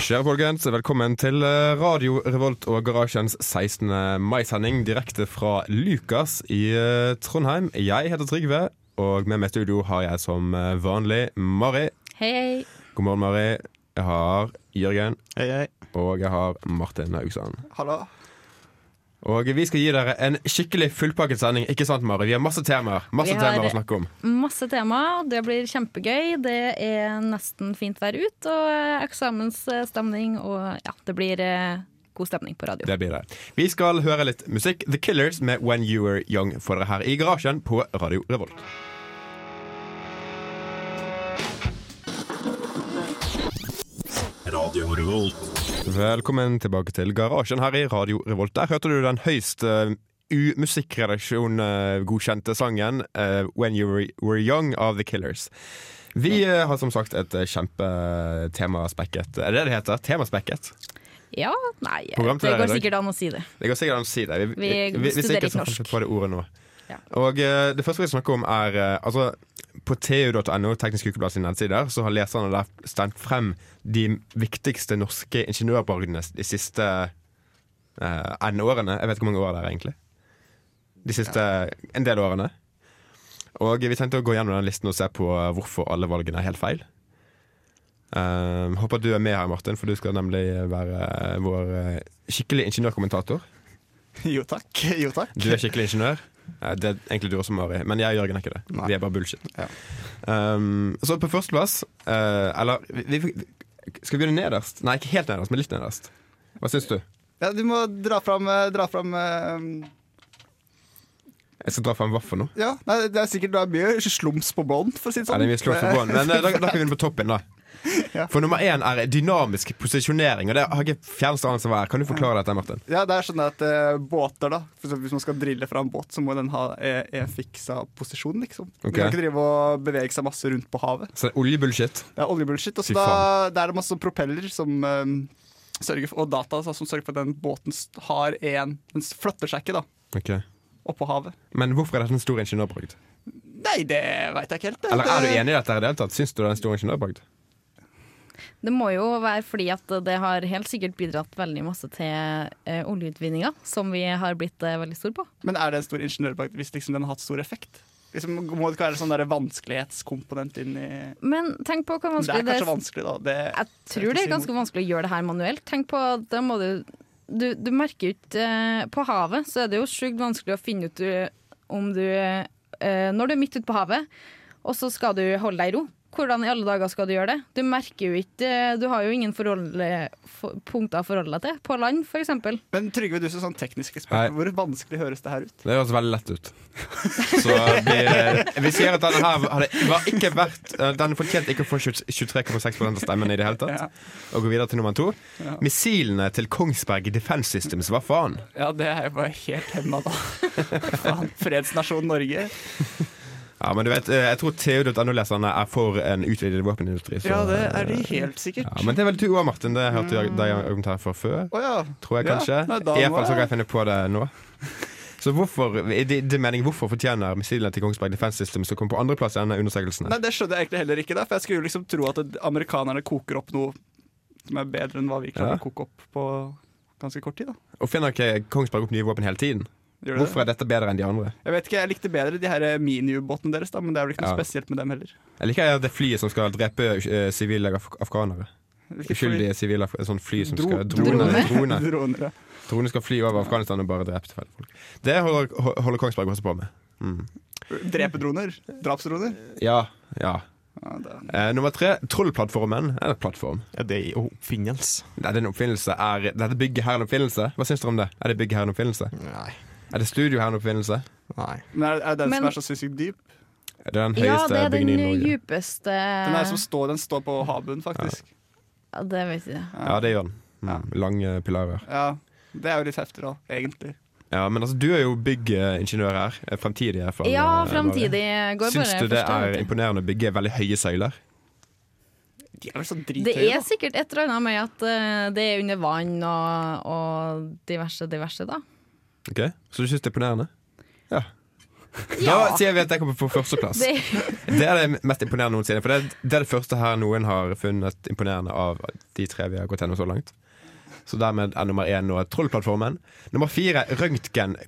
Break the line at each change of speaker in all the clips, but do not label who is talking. skjer, folkens? Velkommen til eh, Radio Revolt og Garasjens 16. mai-sending direkte fra Lukas i eh, Trondheim. Jeg heter Trygve, og med meg i studio har jeg som eh, vanlig Mari.
Hei, hei.
God morgen, Mari. Jeg har Jørgen,
Hei, hei.
og jeg har Martin Haugsand.
Hallo.
Og vi skal gi dere en skikkelig fullpakket sending, ikke sant, Mari? Vi har masse temaer masse
Vi har-
temaer å snakke om.
Masse tema. Det blir kjempegøy. Det er nesten fint vær ut, og eh, eksamensstemning, og ja, det blir eh, god stemning på radio.
Det blir det. Vi skal høre litt musikk. The Killers med When You Were Young får dere her i garasjen på Radio Revolt. Velkommen tilbake til garasjen her i Radio Revolt. Der hørte du den høyst eh, U-musikkredaksjon-godkjente sangen eh, When You Were- Were Young av The Killers. Vi eh, har som sagt et eh, kjempetemaspekket Er det det det heter? Temaspekket?
Ja, nei, eh,
Program til dere i
det går
dag.
sikkert an å si det.
Det går sikkert an å si det. Vi,
Vi
vi- hvis
studerer
ikke, så får
ikke
vi
norsk.
ikke på det ordet nå.
Ja.
Og eh, Det første vi snakker om, er eh, altså, På tu.no, Teknisk Ukeblad sine nettsider, så har leserne der stemt frem de viktigste norske ingeniørborgene de siste eh, N-årene. Jeg vet ikke hvor mange år det er, egentlig. De siste en del årene. Og vi tenkte å gå gjennom den listen og se på eh, hvorfor alle valgene er helt feil. Eh, håper du er med her, Martin, for du skal nemlig være vår eh, skikkelig ingeniørkommentator.
Jo takk. Jo takk.
Du er skikkelig ingeniør. Ja, Det er egentlig du også, Mari. Men jeg og Jørgen er ikke det.
Nei.
Vi er bare bullshit.
Ja.
Um, så på førsteplass uh, Eller vi, vi, skal vi begynne nederst? Nei, ikke helt nederst, men litt nederst. Hva syns du?
Ja, du må dra fram eh, Dra fram eh,
Jeg skal dra fram vaffel nå.
Ja, nei, det er sikkert det er mye slums på bånn, for å si det
Ja,
sånn.
det er mye slått for bånd. Men eh, da, da kan vi begynne på toppen, da.
Ja.
For nummer én er dynamisk posisjonering, og det har jeg ikke fjerneste anelse hva er. Kan du forklare dette, Martin?
Ja, det er sånn at eh, båter, da for eksempel Hvis man skal drille fra en båt, så må den ha eh, en fiksa posisjon, liksom.
Ok.
Man kan ikke drive og bevege seg masse rundt på havet.
Så det er oljebullshit.
Det er oljebullshit. Og
Fy
så da da er det masse propeller som eh, sørger for, og data da, som sørger for at den båten st- har en Den s- flytter seg ikke, da.
Ok.
Oppå havet.
Men hvorfor er dette en stor ingeniørbragd?
Nei, det veit jeg ikke helt.
Eller er du enig i dette her i det hele tatt? Syns du det er en stor ingeniørbragd?
Det må jo være fordi at det har helt sikkert bidratt veldig masse til eh, oljeutvinninga, som vi har blitt eh, veldig stor på.
Men er det en stor ingeniørbak hvis liksom den har hatt stor effekt? Liksom, må det ikke være sånn der vanskelighetskomponent inn i
Men tenk på hvor
Det
vanskelig
er kanskje vanskelig, da. Det,
Jeg tror det er ganske vanskelig å gjøre det her manuelt. Tenk på, da må du, du, du merker jo ikke eh, På havet så er det jo sjukt vanskelig å finne ut eh, om du eh, Når du er midt ute på havet, og så skal du holde deg i ro. Hvordan i alle dager skal du gjøre det? Du merker jo ikke eh, Du har jo ingen forhold, for, punkter å forholde deg til. På land, f.eks.
Men Trygve, du som sånn teknisk
Nei.
ekspert, hvor vanskelig høres det her ut?
Det høres veldig lett ut. Så vi, eh, vi sier at denne her hadde, var ikke verdt eh, Den fortjente ikke å få 23,6 av stemmen i det hele tatt.
Ja.
Og går videre til nummer to.
Ja.
Missilene til Kongsberg Defense Systems, hva faen?
Ja, det er jo bare helt hemma, da. Faen, fredsnasjon Norge.
Ja, men du vet, eh, Jeg tror TU.no-leserne er for en utvidet våpenindustri. så-
Ja, det er de helt sikkert.
Ja, men det er vel du òg, Martin. Det hørte jeg deg argumentere for før.
Å ja.
Tror jeg
Ja,
kanskje.
nei, da
I hvert
må
fall så
jeg-
kan jeg finne på det nå. Så hvorfor, i det, det meningen, hvorfor fortjener missilene til Kongsberg Defense Systems å komme på andreplass i denne undersøkelsen?
Nei, det skjønner jeg egentlig heller ikke, da, for jeg skulle jo liksom tro at det- amerikanerne koker opp noe som er bedre enn hva vi
Ja.
klarer å koke opp på ganske kort tid. da.
Og finner ikke Kongsberg opp nye våpen hele tiden?
Gjør det det?
Hvorfor er dette bedre enn de andre?
Jeg vet ikke, jeg likte bedre de her miniubåtene deres, da, men det er vel ikke noe
Ja.
spesielt med dem heller.
Jeg liker at det er flyet som skal drepe eh, sivile af afghanere.
Hvilket
Uskyldige sivile af sånn fly som
Dro-
skal
drone.
Drone.
fly-
Drone.
Droner. ja.
Drone skal fly over Afghanistan og bare drepe tilfeldige folk. Det holder, ho- holder Kongsberg også på med. Mm.
Drepedroner. Drapsdroner.
Ja. ja.
Ja, det-
Eh, nummer tre, Trollplattformen. Er det plattform?
Ja, det er jo oppfinnelse.
Er det en oppfinnelse? Er dette bygget her en oppfinnelse? Hva syns dere om det? Er det bygget her en oppfinnelse?
Nei.
Er det studio her en oppfinnelse?
Nei.
Men er, er det den
Men-
som er så sinnssykt dyp?
Er det den
Ja,
høyeste
det er den
bygningen i Norge?
djupeste
Den, er som står, den står på havbunnen, faktisk.
ja, Det vet jeg.
Ja, det gjør den. Mm. Lange pilarer.
Ja, Det er jo litt heftig, da, egentlig.
Ja, men altså, du er jo byggingeniør her. eh, Fremtidig, i hvert fall.
Ja,
eh, Mari.
fremtidig går
Syns
bare
du det
første
er
året.
imponerende å bygge veldig høye søyler?
De er vel så
Det
drithøye,
er
da.
sikkert et eller annet med at eh, det er under vann og, og diverse, diverse, da.
Ok, Så du syns det er imponerende? Ja. Da sier vi at jeg kommer på førsteplass.
Det,
Det er det mest imponerende noensinne. For det, det er det første her noen har funnet imponerende av de tre vi har gått gjennom så langt. Så dermed er nummer én nå Trollplattformen. Nummer fire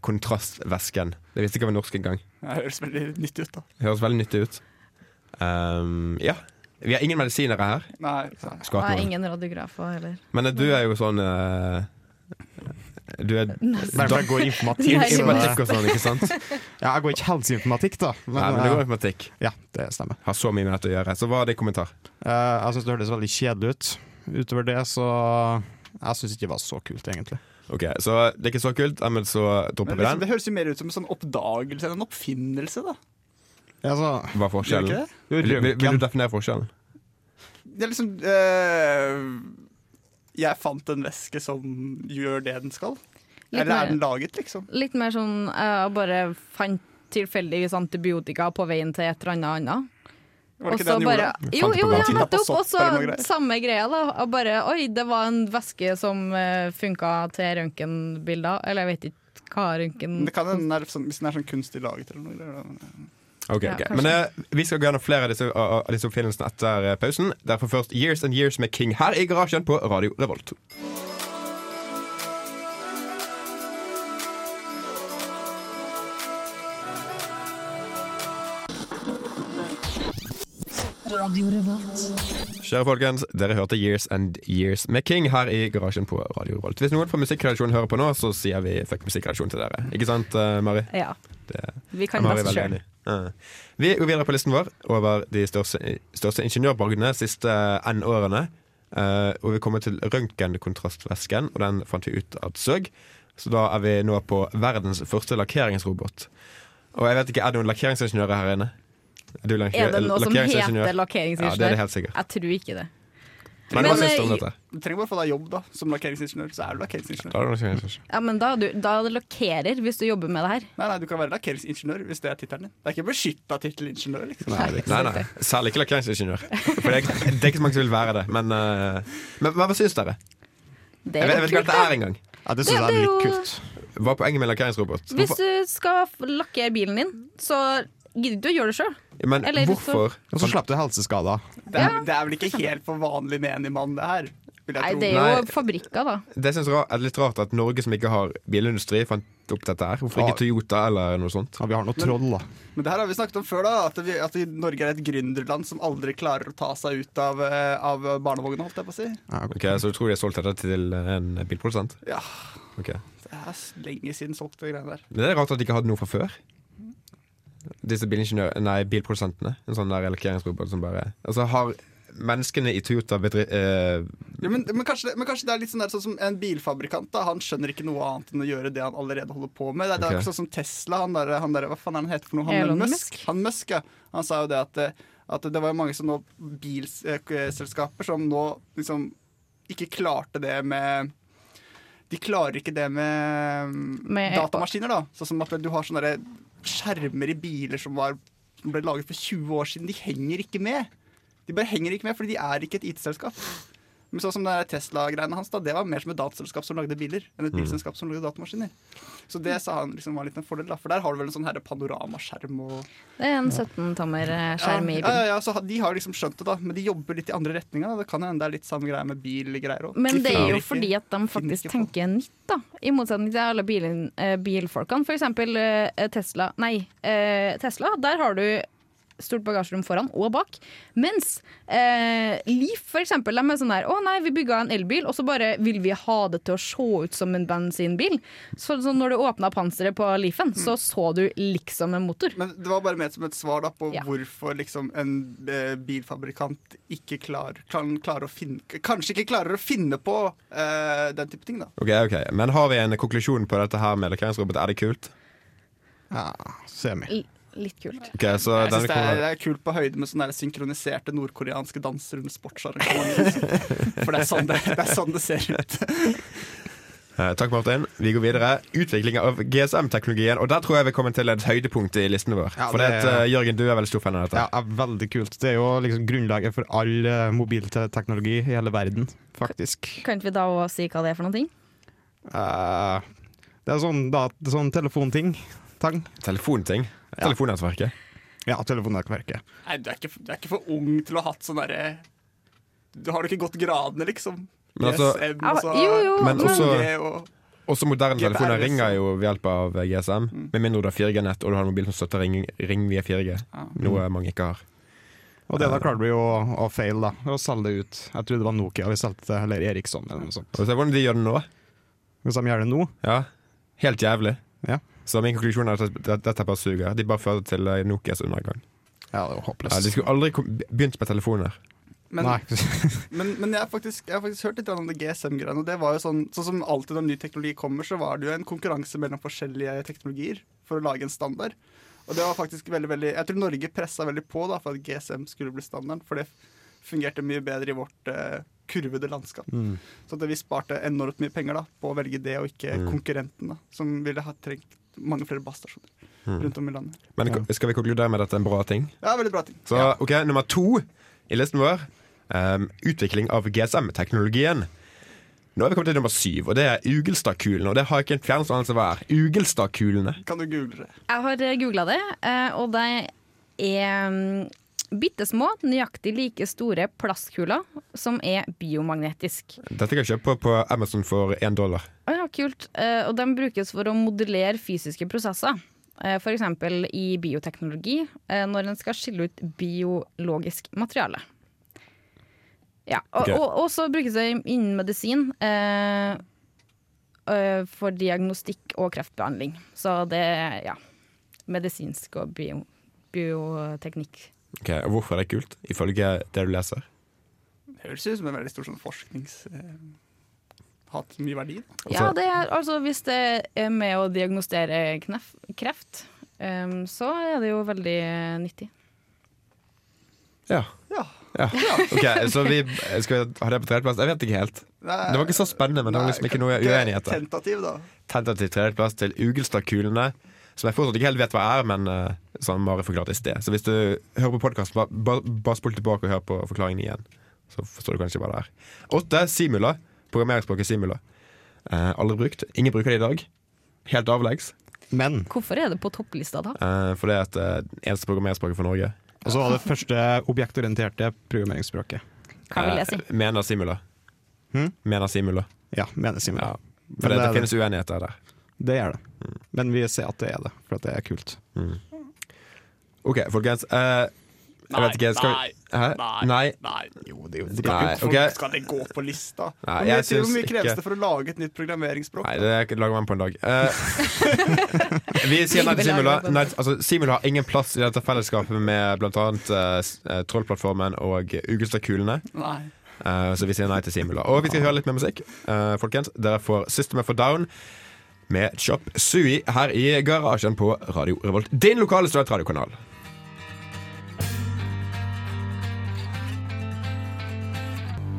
Røntgenkontrastvæsken. Det visste ikke jeg var norsk engang.
Det høres veldig nyttig ut, da.
Det Høres veldig nyttig ut. Ehm, ja. Vi har ingen medisinere her.
Nei, så-
og jeg er
Skapmål.
ingen radiografer heller.
Men eh, du er jo sånn eh, Du er
Nei, for jeg går informatikk.
Nei,
så-
informatikk og sånn, ikke sant?
Ja, jeg går ikke helseinformatikk, da. Men,
Nei, men det går
eh,
informatikk.
ja, det stemmer.
Har så mye med dette å gjøre. Så hva er din kommentar?
Eh, jeg syns det hørtes veldig kjedelig ut. Utover det, så Jeg syns ikke det var så kult, egentlig.
Ok, Så det er ikke så kult, men så
Men
dropper vi
liksom,
den.
det høres jo mer ut som en sånn oppdagelse enn en oppfinnelse, da.
Altså,
Hva er
Gjør det
forskjellen?
ikke det?
Vil, vil, vil du definere forskjellen?
Det er liksom eh, Jeg fant en væske som gjør det den skal.
Litt
Eller
mer-
er den laget, liksom?
Litt mer sånn eh, bare fant tilfeldigvis antibiotika på veien til et eller annet annet.
Var
Og
det ikke det
så
han
bare
gjorde?
Jo,
Fant det på
jo, ja,
gaten.
nettopp!
På
Og så
sopp eller noe greier.
samme greia, da. Og bare Oi, det var en væske som uh, funka til røntgenbilder. Eller jeg vet ikke hva røntgen
Men Det kan hende den er sånn, hvis den er sånn kunstig laget eller noe. greier, da.
Ok,
Ja,
ok.
kanskje.
Men eh, vi skal gå gjennom flere av disse, av av disse oppfinnelsene etter eh, pausen. Derfor først Years and Years med King her i garasjen på Radio Revolt. Kjære folkens, dere hørte Years and Years med King her i garasjen på Radio Revolt. Hvis noen fra musikkredaksjonen hører på nå, så sier vi fuck musikkredaksjonen til dere. Ikke sant, eh, Mari?
Ja.
Det-
Vi
Jeg
kan
må være
best
veldig
sjøl.
enig. Ja. Vi går videre på listen vår over de største, største ingeniørborgene siste N-årene. Eh, og vi kommer til røntgenkontrastvæsken, og den fant vi ut at søg. Så da er vi nå på verdens første lakkeringsrobot. Og jeg vet ikke, er det noen lakkeringsingeniører her inne? Er, du lakker-
Er det noe som
lakkeringsingeniør?
heter
Ja, det er det
lakkeringsingeniør?
helt sikkert.
Jeg tror ikke det.
Men,
Men,
hva syns du om
eh,
dette?
Du trenger bare få deg jobb, da. Som lakkeringsingeniør, så er du lakkeringsingeniør.
Da er det lakkeringsingeniør.
Ja, men da, er du, da er det lakkerer, hvis du jobber med det her.
Nei, nei, du kan være lakkeringsingeniør hvis det er tittelen din. Det er ikke beskytta tittel ingeniør, liksom.
Nei, det er ikke
Nei, nei,
sant, det.
særlig ikke lakkeringsingeniør. For det er, det er ikke så mange som vil være det. Men, eh, men hva, hva syns dere?
Det
Jeg vet, jeg
er jo
vet ikke
kult,
hva dette
da.
er engang.
ja, det
Det-
syns jeg er
det er
litt
jo-
kult.
Hva er poenget med lakkeringsrobot?
Hvis du skal f- lakkere bilen din, så gidder du å gjøre det sjøl.
Men
Eller
hvorfor
Og så slapp du helseskader.
Det er, det er vel ikke helt for vanlig menig mann, det her. Vil
Nei,
jeg tro.
det er jo
Nei.
fabrikker, da.
Det synes jeg ra- er litt rart at Norge som ikke har bilindustri, fant opp dette her. Hvorfor ikke Toyota eller noe sånt?
Ja, vi har noe troll, da.
Men det her har vi snakket om før, da. At, vi, at vi, Norge er et gründerland som aldri klarer å ta seg ut av, eh, av barnevogna, holdt jeg på å si.
Ja,
Ok, Så du tror de har solgt dette til en bilprodusent?
Ja,
Ok.
det er s- lenge siden solgt de greiene der.
Det er rart at de ikke hadde noe fra før. Disse bilingeniør- nei, bilprodusentene. En sånn der lakkeringsrobot som bare Altså har menneskene i Toyota bedri... eh,
Ja, men, men, kanskje det, men kanskje det er litt sånn, der, sånn som en bilfabrikant. da Han skjønner ikke noe annet enn å gjøre det han allerede holder på med. Det er, det
Ok.
er ikke sånn som Tesla. Han der, han der, hva faen er han heter for noe? Han
Elon
Musk.
Musk.
Han Musk, ja. Han sa jo det at, eh, at det var mange sånne bilselskaper som nå liksom ikke klarte det med De klarer ikke det med, mm,
Med-
datamaskiner, da. Sånn som at du har sånne der skjermer i biler som, var, som ble laget for 20 år siden. De henger ikke med. De bare henger ikke med, fordi de er ikke et IT-selskap. Men sånn som det der Tesla-greiene hans, da, det var mer som et dataselskap som lagde biler, enn et bilselskap som lagde datamaskiner. Så det sa han liksom var litt en fordel, da. For der har du vel en sånn her panoramaskjerm og
Det er en 17-tommer-skjerm i
ja,
bilen.
ja, ja, så ha- De har liksom skjønt det, da, men de jobber litt i andre retninga. da. Det kan hende det er litt samme greie med bilgreier òg.
Men det er jo
Ikke-
fordi at de faktisk
ikke på.
tenker nytt, da. I motsetning til alle bilen, eh, bilfolkene. For eksempel eh, Tesla. Nei, eh, Tesla, der har du stort bagasjerom foran og bak. Mens eh, Leaf, for eksempel, de er sånn der Å nei, vi bygga en elbil, og så bare vil vi ha det til å se ut som en bensinbil. Så, så når du åpna panseret på Leafen, så
Mm.
så du liksom en motor.
Men det var bare ment som et svar da på
Ja.
hvorfor liksom en eh, bilfabrikant ikke klar, kan klare å finne Kanskje ikke klarer å finne på eh, den type ting, da.
Ok, ok. Men har vi en konklusjon på dette her med lakkeringsrobot? Er det kult?
ja semi.
L litt kult.
Ok, så
Jeg
denne
synes det, er,
kommer
det er kult på høyde med sånne der synkroniserte nordkoreanske danser under sportsarrangementer. liksom. For det er, sånn det, det er sånn det ser ut.
Eh, Takk, Martin. Vi går videre. Utvikling av GSM-teknologien. Og der tror jeg vi kommer til et høydepunkt i listen vår.
Ja,
For det,
det-
at, eh, Jørgen, du er veldig stor fan av dette.
Ja, er veldig kult. Det er jo liksom grunnlaget for all eh, mobilteknologi i hele verden, faktisk.
Kan ikke vi da òg si hva det er for noen ting?
Eh, det er sånn, da, det er sånn telefonting. Tang.
Telefonting.
Ja.
Telefonnettverket.
Ja, telefonnettverket.
Nei, du er ikke, du er ikke for ung til å ha hatt sånn derre Du har jo ikke gått gradene, liksom.
Men altså-
GSM,
Ja,
og så-
jo, jo,
Men
men
også-
Det og-
Også moderne
GPRS.
telefoner ringer jo ved hjelp av eh, GSM.
Mm.
Med mindre du har 4G-nett og du har en mobil som støtter ring, ring via 4G.
Ja.
Noe
Mm.
mange ikke har.
Og det da klarte vi jo å, å fail, da. Å selge det ut. Jeg trodde det var Nokia vi solgte, til, eller Eriksson eller noe sånt.
Og se hvordan de gjør det nå.
Hvis de gjør det nå
Ja, Helt jævlig.
Ja.
Så min konklusjon er at det- dette bare suger. De bare fører til eh, Nokias undergang.
Ja, det er jo
Ja,
håpløst.
de skulle aldri kom- begynt med telefoner.
men,
Nei.
men, men jeg, har faktisk, jeg har faktisk hørt litt grann om det GSM-greiene. og det var jo Sånn, sånn som alltid når ny teknologi kommer, så var det jo en konkurranse mellom forskjellige teknologier for å lage en standard. Og det var faktisk veldig, veldig Jeg tror Norge pressa veldig på da, for at GSM skulle bli standarden. For det fungerte mye bedre i vårt eh, kurvede landskap.
Mm.
Så at vi sparte enormt mye penger da, på å velge det, og ikke
Mm.
konkurrenten, da, som ville ha trengt mange flere basestasjoner
Mm.
rundt om i landet.
Men
Ja.
ko- skal vi konkludere med at det er en bra ting?
Ja, veldig bra ting.
Så ok, nummer to i listen vår ehm, Utvikling av GSM-teknologien Nå er vi kommet til nummer syv Og det er Ugelstadkulene Og det har jeg ikke en fjernest anelse hva er Ugelstadkulene
Kan du google det?
Jeg har googla det, eh, og de er mm, bitte små, nøyaktig like store plastkuler som er biomagnetisk.
Dette kan jeg kjøpe på, på Amazon for 1 dollar
Å ja, kult. Eh, Og de brukes for å modellere fysiske prosesser. Eh, For eksempel i bioteknologi, eh, når en skal skille ut biologisk materiale. Ja, og,
Ok.
og, og så brukes det innen medisin eh, eh, for diagnostikk og kreftbehandling. Så det er ja, medisinsk og bio, bioteknikk.
Ok, og hvorfor er det kult? Ifølge det du leser
Det høres ut som en veldig stor sånn forsknings... Eh, hatt mye verdi. Da.
Ja, det er, altså hvis det er med å diagnostere knef, kreft, eh, så er det jo veldig eh, nyttig.
Ja,
Ja.
ja. Ok, så vi skal vi ha det på tredjeplass Jeg vet ikke helt Det var ikke så spennende, men det var liksom ikke noe uenighet der.
Tentativ, da.
Tentativ tredjeplass til Ugelstadkulene Som jeg fortsatt ikke helt vet hva er Men eh, som Mari forklarte i sted Så hvis du hører på podcasten Bare bare spol tilbake og hør på forklaringen igjen Så forstår du kanskje hva det er Åtte, Simula Programmeringsspråket Simula Eh, Aldri brukt Ingen bruker det i dag Helt avleggs
Men
Hvorfor er det på topplista da?
eh, For det er et eh, eneste programmeringsspråket for Norge
Og så var det første objektorienterte programmeringsspråket.
Hva vil jeg si?
Eh, Mener Simula
Hm?
Mener Simula
Ja, mener Simen.
Ja
Men
For det, det,
det er det.
finnes uenigheter der
Det gjør det. Men vi ser at det er det, for at det er kult.
Mm. Ok, folkens eh, Jeg vet ikke skal vi- Hæ? Nei
nei.
Jo, det er jo
Nei,
Folk
ok.
Skal det gå på lista?
Nei,
Hvor
jeg
mye- hvor
syns
mye kreves
ikke-
det for å lage et nytt programmeringsspråk?
Nei,
da?
det lager man på en dag. Eh, vi sier nei til Simula. Nei, altså, Simula har ingen plass i dette fellesskapet med bl.a. Uh, Trollplattformen og Ugelstadkulene.
Nei.
Eh, så vi sier nei til Simula. Og vi skal høre litt mer musikk. Eh, folkens, dere får System of a Down med Chop Sui her i garasjen på Radio Revolt. Din lokale studentradiokanal.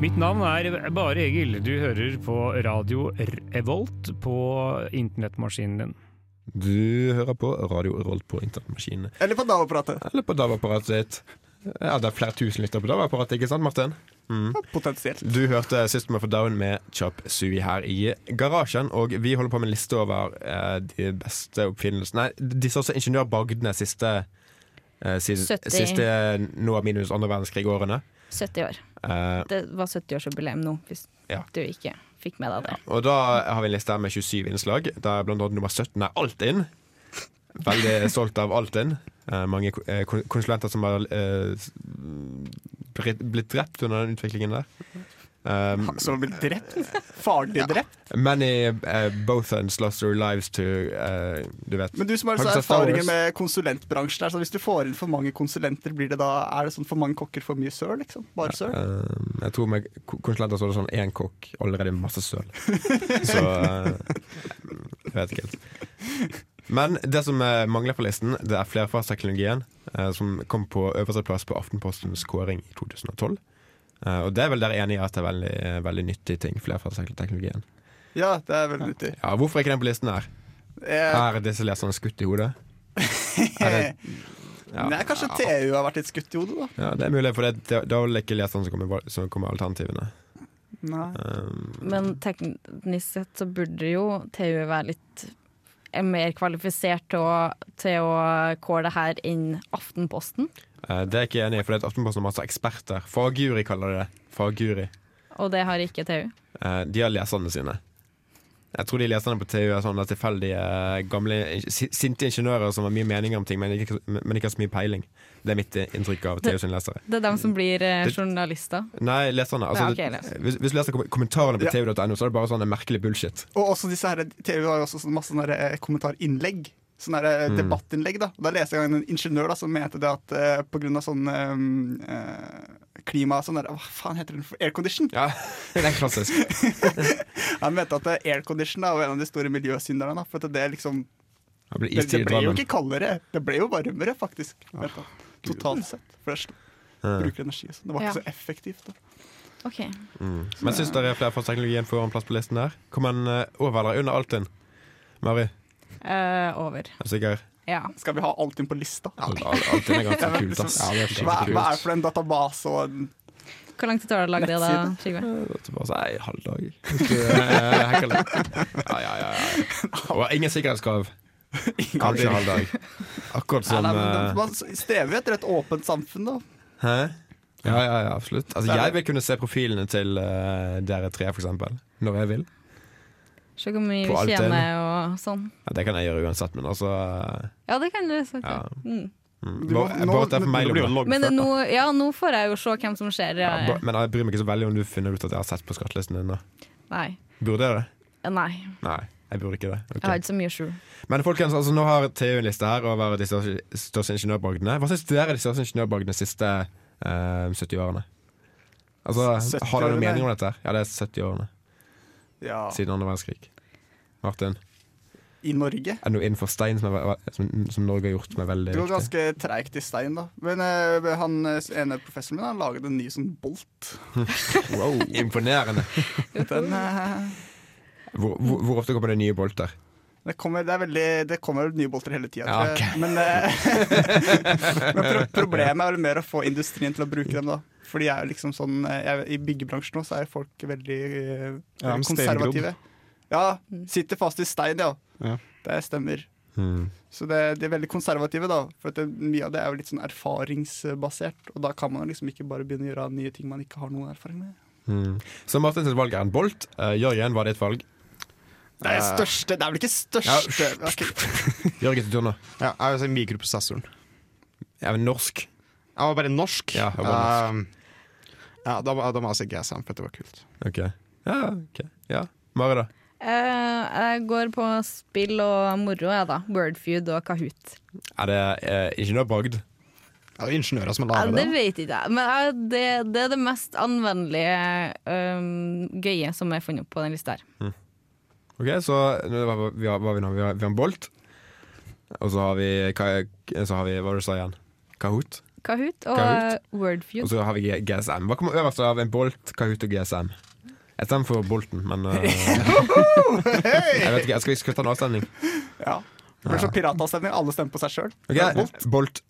Mitt navn er Bare Egil. Du hører på radio Revolt på internettmaskinen din.
Du hører på Radio Revolt på internettmaskinene.
Eller på Nav-apparatet.
Eller på DAB-apparatet ditt. Ja, det er flere tusen lyttere på DAB-apparatet, ikke sant, Martin? Mm.
Ja, Potensielt.
Du hørte System of a Down med Chop Sui her i garasjen. Og vi holder på med en liste over eh, de beste oppfinnelsene Nei, disse også ingeniørbagdene siste, eh, si-
70.
siste eh, nå minus andre verdenskrig-årene.
70 år.
Eh,
Det var 70-årsjubileum nå, hvis
Ja.
du ikke fikk med deg det.
og da har vi en liste her med 27 innslag, der blant annet nummer 17 er Alt inn. Veldig stolt av Alt inn. Eh, mange ko- eh, kon- konsulenter som har eh, s- blitt blitt drept under den utviklingen der. Um,
Som har blitt drept? Farlig drept?
Many uh, both ends lost their lives to eh, Du vet.
Men du som har
Har du
så
sett Star
erfaringer
Wars?
med konsulentbransjen her, så hvis du får inn for mange konsulenter, blir det da, er det sånn for mange kokker for mye søl, liksom? Bare søl?
Eh, jeg tror med ko- konsulenter så er det sånn én kokk, allerede masse søl. Så eh, Jeg vet ikke helt. Men det som eh, mangler på listen, det er flerfaseteknologien, eh, som kom på øverste plass på Aftenpostens kåring i 2012. Eh, og det er vel dere enig i at det er veldig, eh, veldig nyttig ting, flerfaseteknologien.
Ja, det er veldig nyttig.
Ja, hvorfor er ikke den på listen her?
Eh,
Er disse leserne skutt i hodet? Er det, ja.
Nei, kanskje TU har vært litt skutt i hodet, da.
Ja, Det er mulig, for det, det- da er det ikke leserne som kommer, som kommer alternativene.
Nei.
Um,
Men teknisk sett så burde jo TU være litt er mer kvalifisert til å, til å kåre det her enn Aftenposten.
Eh, Det er jeg ikke enig i, for det er Aftenposten har masse eksperter. Fagguri kaller de det. Fagguri.
Og det har ikke TU.
Eh, De har leserne sine. Jeg tror de leserne på TU er sånne tilfeldige eh, gamle ing- si- sinte ingeniører som har mye meninger om ting, men ikke, men ikke har så mye peiling. Det er mitt inntrykk av TU sine lesere.
Det er dem som blir eh,
Det-
journalister.
Nei, leserne. Altså,
Ja, ok, les.
hvis, hvis du leser kom- kommentarene på
Ja.
tu.no, så er det bare sånn merkelig bullshit.
Og også disse her, TV har jo også sånn masse sånne her, eh, kommentarinnlegg. Sånne her, eh,
Mm.
debattinnlegg. da Og Da leste jeg en en ingeniør da, som mente det at eh, på grunn av sånn eh, eh, klima Sånn der, Hva faen heter den? for- Aircondition?
Ja, det er klassisk.
Han mente at eh, aircondition da, var en av de store miljøsynderne. Da, for at det, liksom,
Det blir
det, det
istid i
ble jo
Drammen.
ikke kaldere, det ble jo varmere, faktisk. Mente han. Totalt sett. For det sl-
Ja.
bruker energi og sånn. Det var
Ja.
ikke så effektivt. Da.
Ok.
Mm. Men syns dere flerfagsteknologien får en plass på listen der? Kommer den eh, over eller under Altinn? Mari,
Eh, over.
er du sikker?
Ja.
Skal vi ha Altinn på lista?
Al- al- Altinn er ganske kult, ass.
Ja, det
Hva,
er skikkelig
hva er
kult.
det for en database og en
Hvor lang tid tar det å lage det, da, Trygve?
Det er bare sånn, ei, halv dag. Hvis du, eh, hacker litt. Ja, ja, ja, ja. Og ingen sikkerhetskrav. Kanskje halv dag. Akkurat som
Nei, nei, men
eh,
det- Man strever jo etter et åpent samfunn, da.
Hæ? Ja, ja, ja, absolutt. Altså, jeg vil kunne se profilene til eh, dere tre, for eksempel. Når jeg vil.
Se hvor mye
På alt
vi tjener og sånn.
Ja, det kan jeg gjøre uansett, men altså eh,
Ja, det kan du sagt.
Ja.
Mm.
mm.
Du må-
Bare
nå-
bare at det er for
Men
meg.
det blir jo
Lomme.
loggført,
Men
da.
nå, ja, nå får jeg jo se hvem som ser eh, det.
Ja, ba- men jeg bryr meg ikke så veldig om du finner ut at jeg har sett på skattelisten din. da.
Nei.
Burde jeg det?
Eh, Nei,
Nei, jeg burde ikke det. Ok.
jeg har ikke så mye skjul.
Men folkens, altså, nå har TU en liste her over de største, største ingeniørbragdene. Hva syns dere er de største ingeniørbragdene de siste eh, 70 årene? Altså, Har dere noen
70-årene?
mening om dette? her? Ja, det er 70-årene
Ja.
siden andre verdenskrig. Martin,
I Norge.
er det noe innenfor stein som, er, ve- som, som Norge har gjort som er veldig
Det går
viktig?
ganske treigt i stein, da. Men eh, han eh, ene professoren min har laget en ny sånn bolt.
Wow, imponerende!
Den, eh,
Hvor, hvor, hvor ofte kommer det nye bolter?
det, kommer, det, er veldig, det kommer nye bolter hele tida.
Ja,
Men, eh, men pro problemet er vel mer å få industrien til å bruke dem, da. Fordi jeg er jo liksom sånn eh, jeg, I byggebransjen nå så er jo folk veldig eh,
Ja, men
konservative. Ja. Sitter fast i stein, ja.
Ja.
Det stemmer.
Hmm.
Så det, de er veldig konservative, da. For at det, mye av det er jo litt sånn erfaringsbasert. Og da kan man liksom ikke bare begynne å gjøre nye ting man ikke har noen erfaring med.
Hmm. Så Martin sitt valg er en bolt. Eh, Jørgen, hva er ditt valg?
Det er største Det er vel ikke største
Jørgen til tur nå.
Ja, jeg vil si mikroprosessoren.
Ja, men norsk.
Jeg var bare norsk.
Ja, jeg var bare
Eh, ja da, må- da må jeg si GSM, for det var kult.
Ok. Ja, ok. Ja. Mari, da?
Eh, jeg går på spill og moro, jeg, da. Wordfeud og Kahoot.
Er det eh, ingeniørbragd?
Ja, det er ingeniører som
Ja,
har laget
det
det.
vet ikke jeg, men jeg, det, det er det mest anvendelige um, gøye som er funnet opp på den lista her.
Ok, så nå var vi, hva har vi, nå? vi, har, vi har en bolt. Og så har vi, hva- eh, så har vi Hva var det du sa igjen? Kahoot.
Kahoot
Kahoot.
og
Altså,
eh, Wordfeud.
Og så har vi G- GSM. Hva kommer øverst av en bolt, Kahoot og GSM? Jeg stemmer for bolten, men eh, Jeg vet ikke, skal vi skal vi ta en avstemning?
Ja. Det blir sånn piratavstemning. Alle stemmer på seg sjøl.
Ok, Bolt.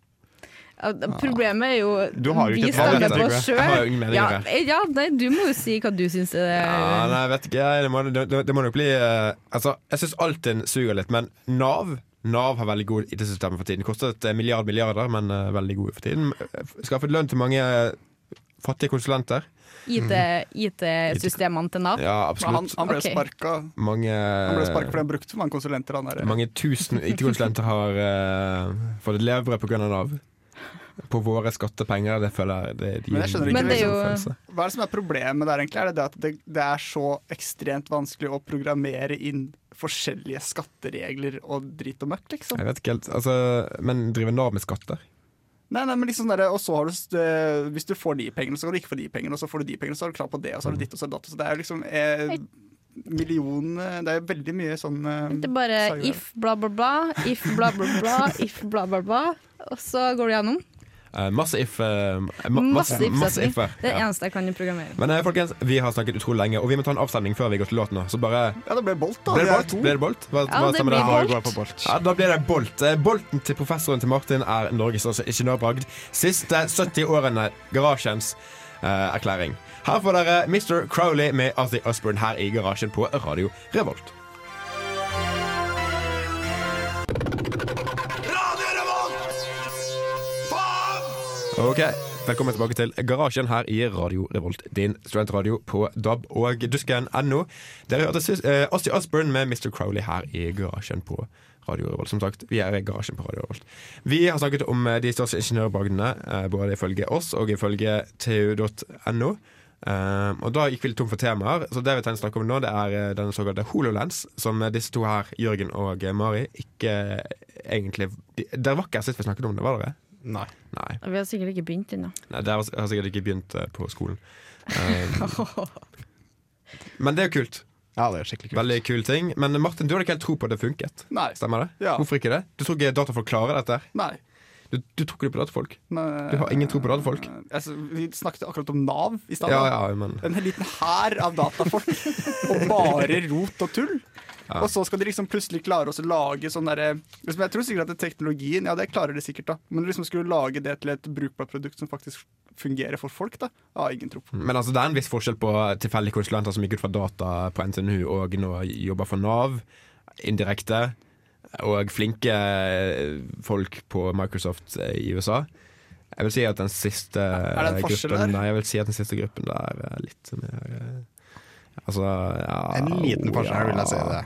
Ja, det-
ah.
Problemet er jo
Du har jo
Vi
ikke et
valg,
stemmer på
Trygve.
oss
Jeg har jo
sjøl.
ingen meninger
Ja,
her.
ja, nei, du må jo si hva du eh, syns er
Ja, nei, jeg vet ikke. Det må, det, det må nok bli eh, Altså, jeg syns Altinn suger litt, men Nav Nav har veldig gode IT-systemer for tiden. Kostet eh, milliard milliarder, men eh, veldig gode for tiden. Skaffet lønn til mange eh, fattige konsulenter.
IT- IT-systemene til Nav.
Mm. Ja,
Men han,
absolutt.
han ble
Ok.
sparka.
Mange
Han ble sparka fordi han brukte for mange konsulenter. Han der.
Mange tusen IT-konsulenter har eh, fått et levebrød pga. Nav. På våre skattepenger. Det føler jeg det, det gir liksom
Men jeg skjønner ikke
en
Men det er jo-
følelse.
Hva er det som er problemet der, egentlig? Er det det at det, det er så ekstremt vanskelig å programmere inn forskjellige skatteregler og drit og møkk, liksom?
Jeg vet ikke helt altså, Men driver Nav med skatter?
Nei, nei, men liksom der, og så har du, eh, Hvis du får de pengene, så kan du ikke få de pengene, og så får du de pengene, så har du krav på det, og så har du ditt, og så har du datt. Så det er jo liksom eh, million eh, Det er jo veldig mye sånn eh,
Det er bare
sager.
if bla, bla, bla, if bla, bla, bla, if bla, bla, bla. Og så går du gjennom.
Eh, masse if. eh, ma eh,
Masse
masse, masse
if-setning.
if-er.
Det er det
Ja.
eneste jeg kan i programmering.
Men eh, folkens, vi har snakket utrolig lenge, og vi må ta en avstemning før vi går til låt nå. Så bare
Ja, det ble Bolt, da.
Ble
Vi
det
er
bolt?
to.
Ble det bolt? Hva,
Ja,
hva
det
stemmer
blir
der?
bolt.
går på bolt.
Ja, da blir det bolt. Eh, Bolten til professoren til Martin er Norges største ingeniørbragd. Siste 70 årene garasjens eh, erklæring. Her får dere Mr. Crowley med Arthur Osborne her i garasjen på Radio Revolt. Ok, Velkommen tilbake til Garasjen her i Radio Revolt, din studentradio på DAB og dusken.no. Dere hørte sys- eh, Ozzy Osbourne med Mr. Crowley her i Garasjen på Radio Revolt. Som sagt, vi er i Garasjen på Radio Revolt. Vi har snakket om eh, de største ingeniørbragdene, eh, både ifølge oss og ifølge tu.no. Eh, og da gikk vi litt tom for temaer, så det vi tenker å snakke om nå, det er eh, den såkalte HoloLens, som eh, disse to her, Jørgen og eh, Mari, ikke eh, egentlig de, Dere var ikke her sist vi snakket om det, var dere?
Nei.
Nei.
Vi har sikkert ikke begynt ennå.
Nei, Der har jeg sikkert ikke begynt eh, på skolen. Um, men det er jo kult.
Ja, det er skikkelig kult.
Veldig kul ting. Men eh, Martin, du hadde ikke helt tro på at det funket.
Nei.
Stemmer det?
Ja.
Hvorfor ikke det? Du tror ikke datafolk klarer dette? her?
Nei.
Du, du tror ikke på datafolk?
Men-
Du har ingen tro på datafolk?
Eh, Altså, vi snakket akkurat om Nav i stad.
Ja, ja, men
En liten hær av datafolk og bare rot og tull. Og så skal de liksom plutselig klare å lage sånn derre liksom Jeg tror sikkert at teknologien Ja, det klarer de sikkert, da. Men liksom skulle lage det til et brukbart produkt som faktisk fungerer for folk, da. Jeg har ingen tro på.
Men altså, det er en viss forskjell på tilfeldige konsulenter som gikk ut fra data på NTNU og nå jobber for Nav indirekte, og flinke eh, folk på Microsoft eh, i USA. Jeg vil si at den siste
Er det en forskjell
gruppen
der?
Nei, jeg vil si at den siste gruppen der er litt mer eh, Altså ja,
En liten
oh,
forskjell, vil jeg si det.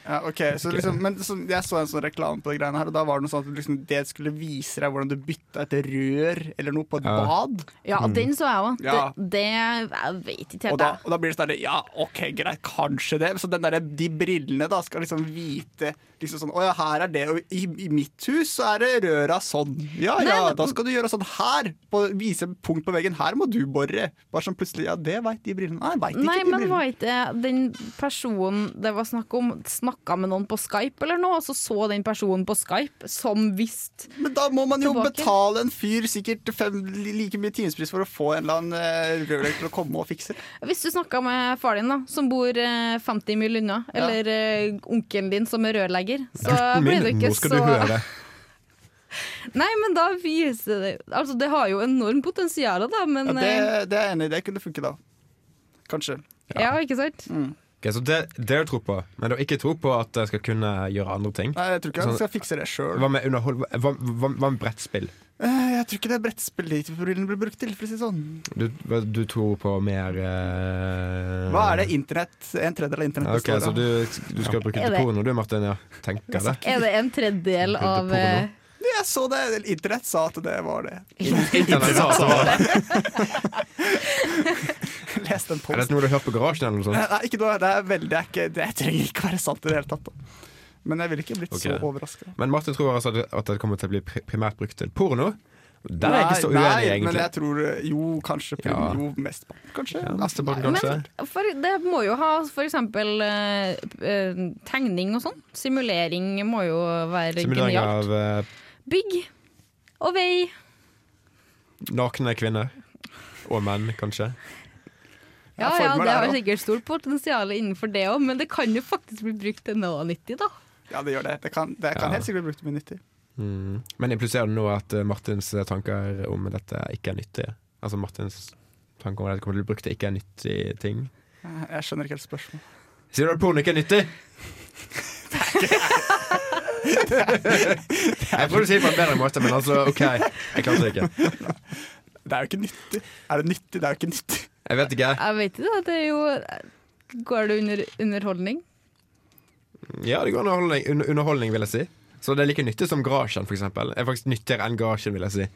Ja, ok, så liksom, men så, Jeg så en sånn reklame på det greiene her, og da var det noe sånn at liksom, det skulle vise deg hvordan du bytta et rør eller noe på et
Ja.
bad.
Ja,
Mm.
den så jeg òg.
Ja.
Det, det Jeg vet ikke
Og
helt,
da,
jeg.
og da blir det sånn der, Ja, OK, greit, kanskje det. Så den der, de brillene da skal liksom vite liksom sånn Å ja, her er det, og i, i mitt hus så er det røra sånn. Ja
Nei,
ja,
men-
da skal du gjøre sånn her. På, vise punkt på veggen. Her må du bore. Bare sånn plutselig Ja, det veit de brillene. Nei, veit ikke
Nei,
de
men
brillene.
var ikke den personen det var snakk om, snakka med noen på Skype eller noe, og så så den personen på Skype som visste
Men da må man jo
Tilbake.
betale en fyr sikkert fem, li- like mye timespris for å få en eller annen eh, rørlegger til å komme og fikse det.
Hvis du snakka med far din, da, som bor eh, 50 mil unna,
Ja.
eller eh, onkelen din som er rørlegger, så
Gutten
blir
min,
du ikke
nå
så
skal du høre.
Nei, men da viser det Altså, det har jo enormt potensial, da, men
Ja, det,
eh,
det er jeg enig i. Det kunne funke da. Kanskje.
Ja, ikke sant?
Ok, så det, det er det tro på, men du har ikke tro på at jeg skal kunne gjøre andre ting?
Nei, jeg tror ikke
Sånn-
han skal fikse det sjøl.
Hva med underhold... Hva, hva, hva med brettspill?
Eh, Jeg tror ikke det er brettspill de brillene blir brukt til, for å si det sånn.
Du, du tror på mer eh,
Hva er det internett? En tredjedel av internett
Ok,
består
så
av?
du, du skal bruke
Er
til
det-
porno du, Martin? Ja. Tenker det.
Er det en tredjedel
Bilde
av
porno.
eh,
Jeg så det, internett sa at det var det.
Internett sa at det var det.
Jeg leste en
Er
post. Eh,
dette noe du har hørt på garasjen eller noe sånt?
Nei, ikke noe, det er veldig, det er ikke, det trenger ikke være sant i det hele tatt. Da. Men jeg ville ikke blitt
Ok.
så overraska.
Men Martin tror altså at- at det kommer til å bli pri- primært brukt til porno. Der er jeg ikke så uenig,
men
egentlig.
jeg tror eh, Jo, kanskje prim,
Ja.
Jo, mest barn, kanskje.
Ja,
Altså,
Nestebarn, kanskje.
Men for, det må jo ha for eksempel eh, eh, tegning og sånn. Simulering må jo være
Simulering
genialt.
av eh,
Bygg og vei.
nakne kvinner. Og menn, kanskje.
Ja, ja,
Ja, former
det
der
har
også.
sikkert stort potensial innenfor det òg, men det kan jo faktisk bli brukt til noe nyttig, da.
ja, det gjør det. Det kan, det kan
Ja.
helt sikkert bli brukt til mye nyttig.
Mm. Men impliserer det nå at eh, Martins tanker om dette ikke er nyttige? Altså Martins tanker om at det kommer til å bli brukt til ikke er nyttige ting?
Eh, Jeg skjønner ikke helt spørsmålet.
Sier du at porno ikke er nyttig? Jeg prøvde å si det på en bedre måte, men altså, OK. Jeg klarte det ikke.
Det er jo ikke nyttig. Er det nyttig? Det er jo ikke nyttig.
Jeg vet ikke.
Jeg vet ikke, da. Det er jo Går det under underholdning?
Ja, det går underholdning, un underholdning vil jeg si. Så det er like nyttig som garasjen, for eksempel. Det Er faktisk nyttigere enn garasjen, vil jeg si.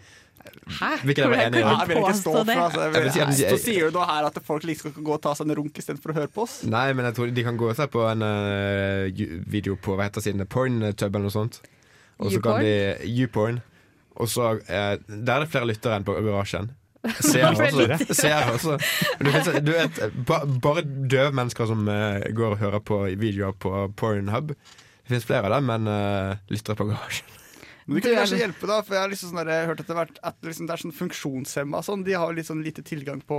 Hæ?
Hvilken er
Hvordan
jeg enig i?
kan
Ja,
du
jeg vil ikke
påstå
stå for
det?
altså, jeg
Jeg vil si
vil,
at de-
Så sier du nå her at folk liksom skal gå og ta seg en runk istedenfor å høre på oss.
Nei, men jeg tror de kan gå og se på en eh, ju- video på hva heter siden Porntub eller noe sånt. Og så kan de YouPorn. Og så eh, Der er det flere lyttere enn på garasjen. Ser også.
Veldig.
Ser også. Men det finnes, du vet, ba, bare døve mennesker som eh, går og hører på videoer på Pornhub. Det fins flere av dem, men eh, lyttere på garasjen.
Men du
Du
kan
er
kanskje
litt-
hjelpe, da, for jeg har liksom sånn der, hørt etter hvert at liksom det er sånn funksjonshemma og sånn. De har litt sånn lite tilgang på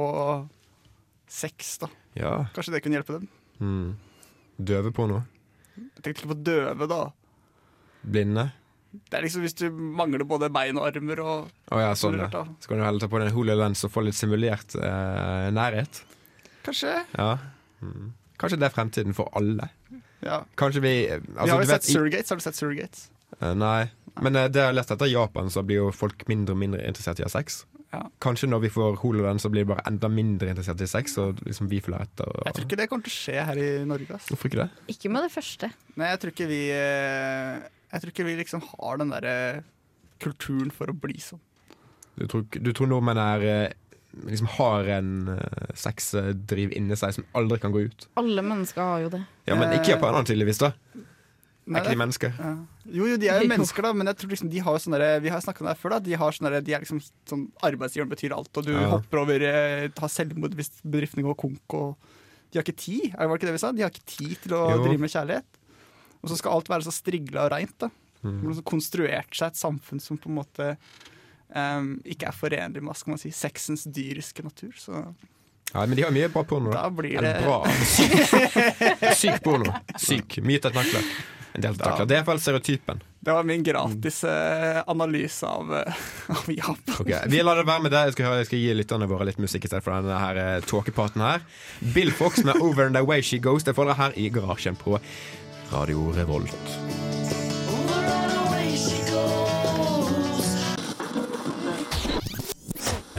sex, da.
Ja.
Kanskje det kunne hjelpe dem?
Mm. Døve porno.
Jeg tenkte ikke på døve, da.
Blinde.
Det er liksom hvis du mangler både bein og armer og
Å ja, sånn.
Sånn
ja.
rart, da.
Så kan du heller ta på deg en hololens og få litt simulert eh, nærhet.
Kanskje.
Ja. Mm. Kanskje det er fremtiden for alle.
Ja.
Kanskje vi
Vi
altså,
har
du
jo sett
vet, i-
Surrogates. Har du sett Surrogates?
Eh, Nei. Men eh, det jeg har lest etter i Japan, så blir jo folk mindre og mindre interessert i å ha sex.
Ja.
Kanskje når vi får hololand, så blir de bare enda mindre interessert i sex, og liksom vi følger etter. Og...
Jeg tror ikke det kommer til å skje her i Norge. Ass.
Hvorfor ikke det?
Ikke med det første.
Nei, jeg tror ikke vi eh, Jeg tror ikke vi liksom har den derre kulturen for å bli sånn.
Du tror, ikke- du tror nordmenn er eh, Liksom har en eh, sexdriv inni seg som aldri kan gå ut.
Alle mennesker har jo det.
Ja, Men ikke
Eh.
japanerne, tydeligvis. da Er
Nei,
ikke de mennesker?
ja. Jo, jo, de er jo
Jo.
mennesker, da, men jeg tror liksom de har jo sånne derre- Vi har snakka om det her før, da. De har sånne, derre- de er liksom sånn Arbeidsgiveren betyr alt, og du
Ja.
hopper over eh, Har selvmord hvis bedriften går konk, og De har ikke tid, er det var det ikke det vi sa? De har ikke tid til å
Jo.
drive med kjærlighet. Og så skal alt være så strigla og reint, da.
Mm.
De har liksom konstruert seg et samfunn som på en måte em, ikke er forenlig med hva skal man si, sexens dyriske natur. Så
Ja, Men de har mye bra porno.
da
da
blir det
Eller bra. Syk, syk porno. Syk. Mye tentakler. En del tentakler. Det er i hvert fall stereotypen.
Det var min gratis
Mm.
eh, analyse av, eh, av Japan.
Ok, Vi lar det være med det. Jeg skal, høre- jeg skal gi lytterne våre litt musikk i stedet for denne her eh, tåkepraten her. Bill Fox med 'Over and the Way She Goes'. Det får dere her i garasjen på Radio Revolt.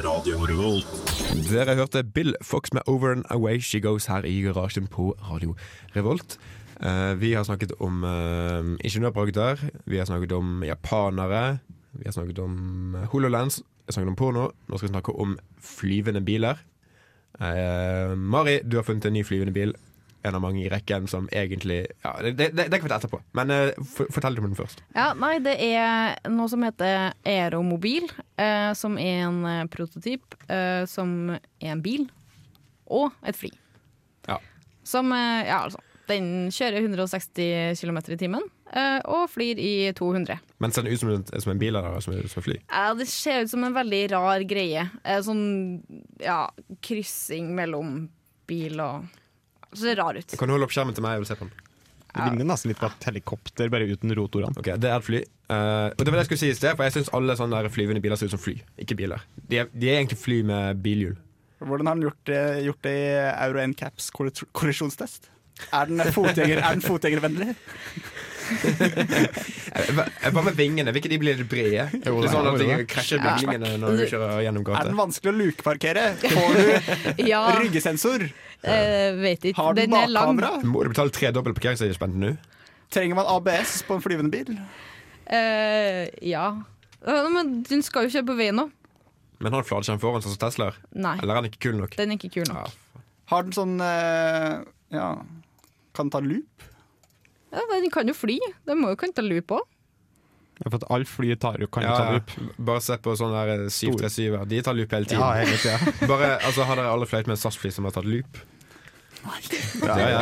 Radio Revolt.
Dere hørte Bill Fox med 'Over and Away She Goes' her i garasjen på Radio Revolt. Eh, vi har snakket om uh, ingeniørbragder, vi har snakket om japanere, vi har snakket om eh, HoloLens, vi har snakket om porno. Nå skal vi snakke om flyvende biler. Eh, Mari, du har funnet en ny flyvende bil. En av mange i rekken som egentlig ja, Det, det, det kan vi ta etterpå, men eh, for, fortell om den først.
Ja, nei, det er noe som heter Aeromobil, eh, som er en eh, prototyp eh, som er en bil og et fly.
Ja.
Som, eh, ja altså, den kjører 160 km i timen eh, og flyr i 200.
Men ser den ut som en, som en bil eller som, som et fly?
Ja, det ser ut som en veldig rar greie. Eh, sånn, ja, kryssing mellom bil og Så det ser rar ut.
Kan du holde opp skjermen til meg? Jeg vil se på den.
Det ligner nesten litt på et helikopter, bare uten rotorene.
Ok, Det er et fly. Eh, og det var det jeg skulle si i sted, for jeg syns alle sånne der flyvende biler ser ut som fly, ikke biler. De er, de er egentlig fly med bilhjul.
Hvordan har den gjort det, gjort det i Euro NCAPs kollis- kollisjonstest? Er den fotgjenger- er den fotgjengervennlig?
Eh, Hva hva med vingene? Vil ikke de bli litt brede? Det
det
er sånn at
er
de
det.
krasjer bygningene når du kjører gjennom
Er
gata.
den vanskelig å lukeparkere? Får du
Ja,
ryggesensor?
eh, vet ikke.
Har den
er lang.
bakkamera?
Må du betale tre dobbel parkeringsavgift nå?
Trenger man ABS på en flyvende bil?
Eh, ja. Eh, Men den skal jo ikke på veien nå.
Men har han flatskjerm foran sånn som Teslaer?
Nei,
Eller er han ikke kul nok?
den er ikke kul
Ja,
nok.
Har den sånn eh, Ja, kan den ta loop?
Ja, men den kan jo fly. Den må jo kunne ta loop òg.
For at alle fly tar jo kan jo
ja,
ta
ja.
loop.
Bare se på sånne der eh, 737-er. De tar loop hele
Ja,
tiden.
hele tida.
Bare, altså, Har dere alle fløyet med en SAS-fly som har tatt loop? Ja, ja, ja.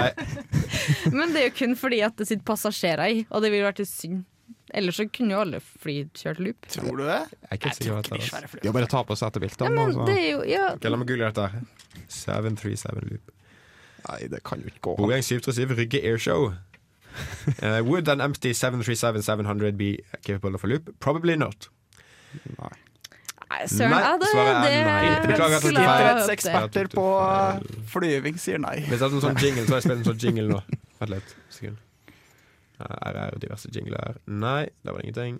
Men det er jo kun fordi at det sitter passasjerer i, og det ville vært litt synd. Ellers så kunne jo alle fly kjørt loop.
Tror du det?
Jeg er ikke helt sikker på dette. altså.
De har bare ta på setebeltene.
Ja, men
altså.
det er jo Ja,
Ok, La meg google dette. her. 737 loop.
Nei, det kan jo ikke gå.
Boeing 737 Rygge Airshow. Uh, would an empty 737-700 be capable of a loop? Probably not.
Nei.
nei, søren.
Nei,
ja, det,
svaret er nei.
det
Beklager at jeg tok
skulle jeg
feil.
ha hørt det.
Sikkerhetseksperter på flyving sier nei.
Hvis det er en sånn jingle, så har jeg spilt en sånn jingle nå. Vent litt. Sekund. Uh, RR og diverse jingler. Nei, det var det ingenting.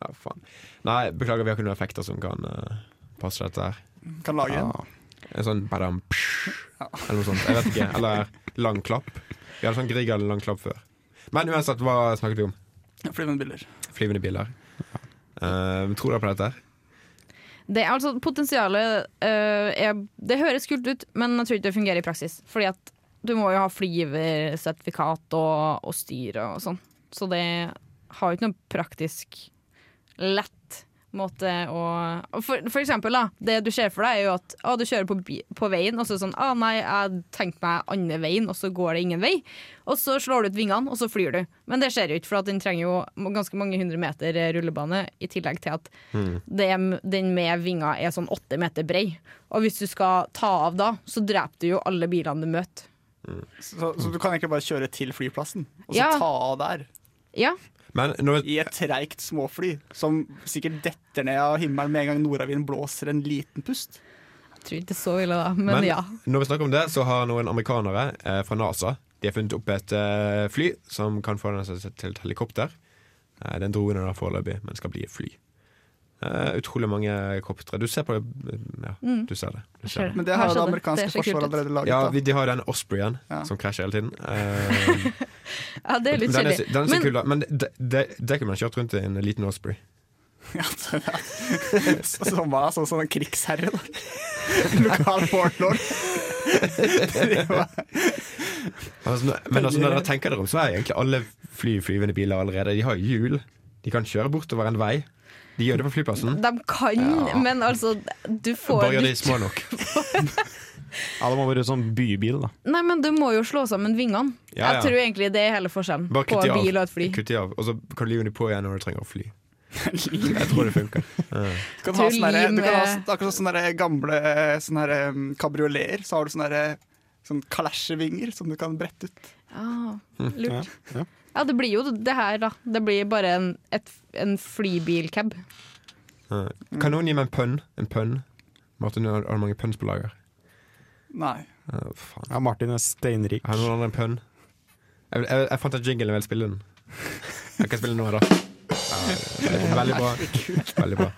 Ja, faen. Nei, beklager, vi har ikke noen effekter som kan eh, passe dette her.
Kan lage en.
Ja.
En sånn badam psh, eller noe sånt. Jeg vet ikke. Eller lang klapp. Vi hadde sånn Grieg eller lang klapp før. Men uansett, hva snakket vi om?
Flyvende biler.
Flyvende biler. Eh, tror dere på dette? her?
Det er altså potensialet øh, er, Det høres kult ut, men jeg tror ikke det fungerer i praksis. Fordi at du må jo ha flyversertifikat og, og styre og sånn. Så det har jo ikke noe praktisk lett måte å og for, for eksempel, da. Det du ser for deg, er jo at å, du kjører på, bi- på veien, og så er det sånn Å, nei, jeg tenkte meg andre veien, og så går det ingen vei. Og så slår du ut vingene, og så flyr du. Men det skjer jo ikke, for at den trenger jo ganske mange hundre meter eh, rullebane, i tillegg til at det, den med vinger er sånn åtte meter brei. Og hvis du skal ta av da, så dreper du jo alle bilene du møter.
Så, så du kan egentlig bare kjøre til flyplassen, og så
Ja.
ta av der.
Ja,
Men når,
I et treigt småfly som sikkert detter ned av himmelen med en gang nordavinden blåser en liten pust.
jeg tror ikke det er så ille da, men,
Men
ja.
når vi snakker om det, så har noen amerikanere eh, fra NASA De har funnet opp et eh, fly som kan forandre seg til et helikopter. Eh, Det er en drone da foreløpig, men skal bli et fly. Eh, utrolig mange koptere. Du ser på det Ja,
Mm.
du ser det. Du
Jeg
ser
ser
det.
Men det
Her
har jo
skjedde
det
det.
amerikanske
Det ser kult
forsvaret
ut.
allerede laget.
Ja,
da.
vi, de har den Ospreyen
Ja.
som krasjer hele tiden. Eh,
Ja, det er litt
den er,
kjedelig.
den er så
Men-
kul, da. Men det, det, det kunne man kjørt rundt i en liten Osprey.
Ja, så- så- Som var sånn som en krigsherre, da. Lokal warlord. Det var-
Altså, nå- men altså, når dere tenker dere om, så er egentlig alle fly flyvende biler allerede De har jo hjul. De kan kjøre bortover en vei. De gjør det på flyplassen.
De kan,
Ja.
men altså Du får
Bare gjør de
litt
små nok.
Ja, det må være sånn bybil, da.
Nei, men du må jo slå sammen vingene.
Ja, ja.
Jeg tror egentlig det er hele forskjellen
Bare
på
kutt de
en
av.
bil og et fly.
Kutt de av. Og så kan du live dem på igjen når du trenger å fly. Jeg tror det funker.
Du kan ha
Til
sånne, der- du kan ha
med-
sånn- akkurat sånne der gamle eh, sånne der, um, kabrioleter. Så har du sånne, der, sånn kalesjevinger som du kan brette ut.
Ah,
Mm,
lurt.
ja.
Ja, det blir jo det her, da. Det blir bare en, et, en flybilcab.
Eh, Kan noen gi meg en pønn? En pønn? Martin, har har du mange pønns på lager?
Nei.
Eh, faen.
Ja, Martin er steinrik.
Har noen andre en pønn? Jeg, jeg, jeg fant en jingle, jeg vil spille den. Jeg kan spille den nå, da. Ja, Veldig bra. Veldig bra.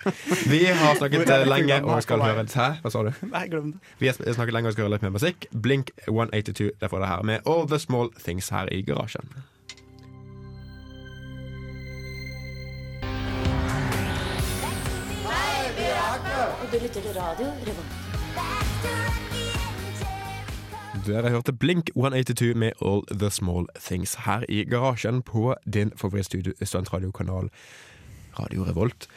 Vi har snakket eh, lenge og skal høre Hæ, hva sa du?
Nei, glem det.
Vi har sn- snakket lenge og skal høre litt mer musikk. Blink 182 derfor det her med All The Small Things her i garasjen.
Du lytter til radio Revolt.
Dere hørte Blink 182 med All The Small Things her i garasjen på din favorittstudio- studentradiokanal Radio Revolt.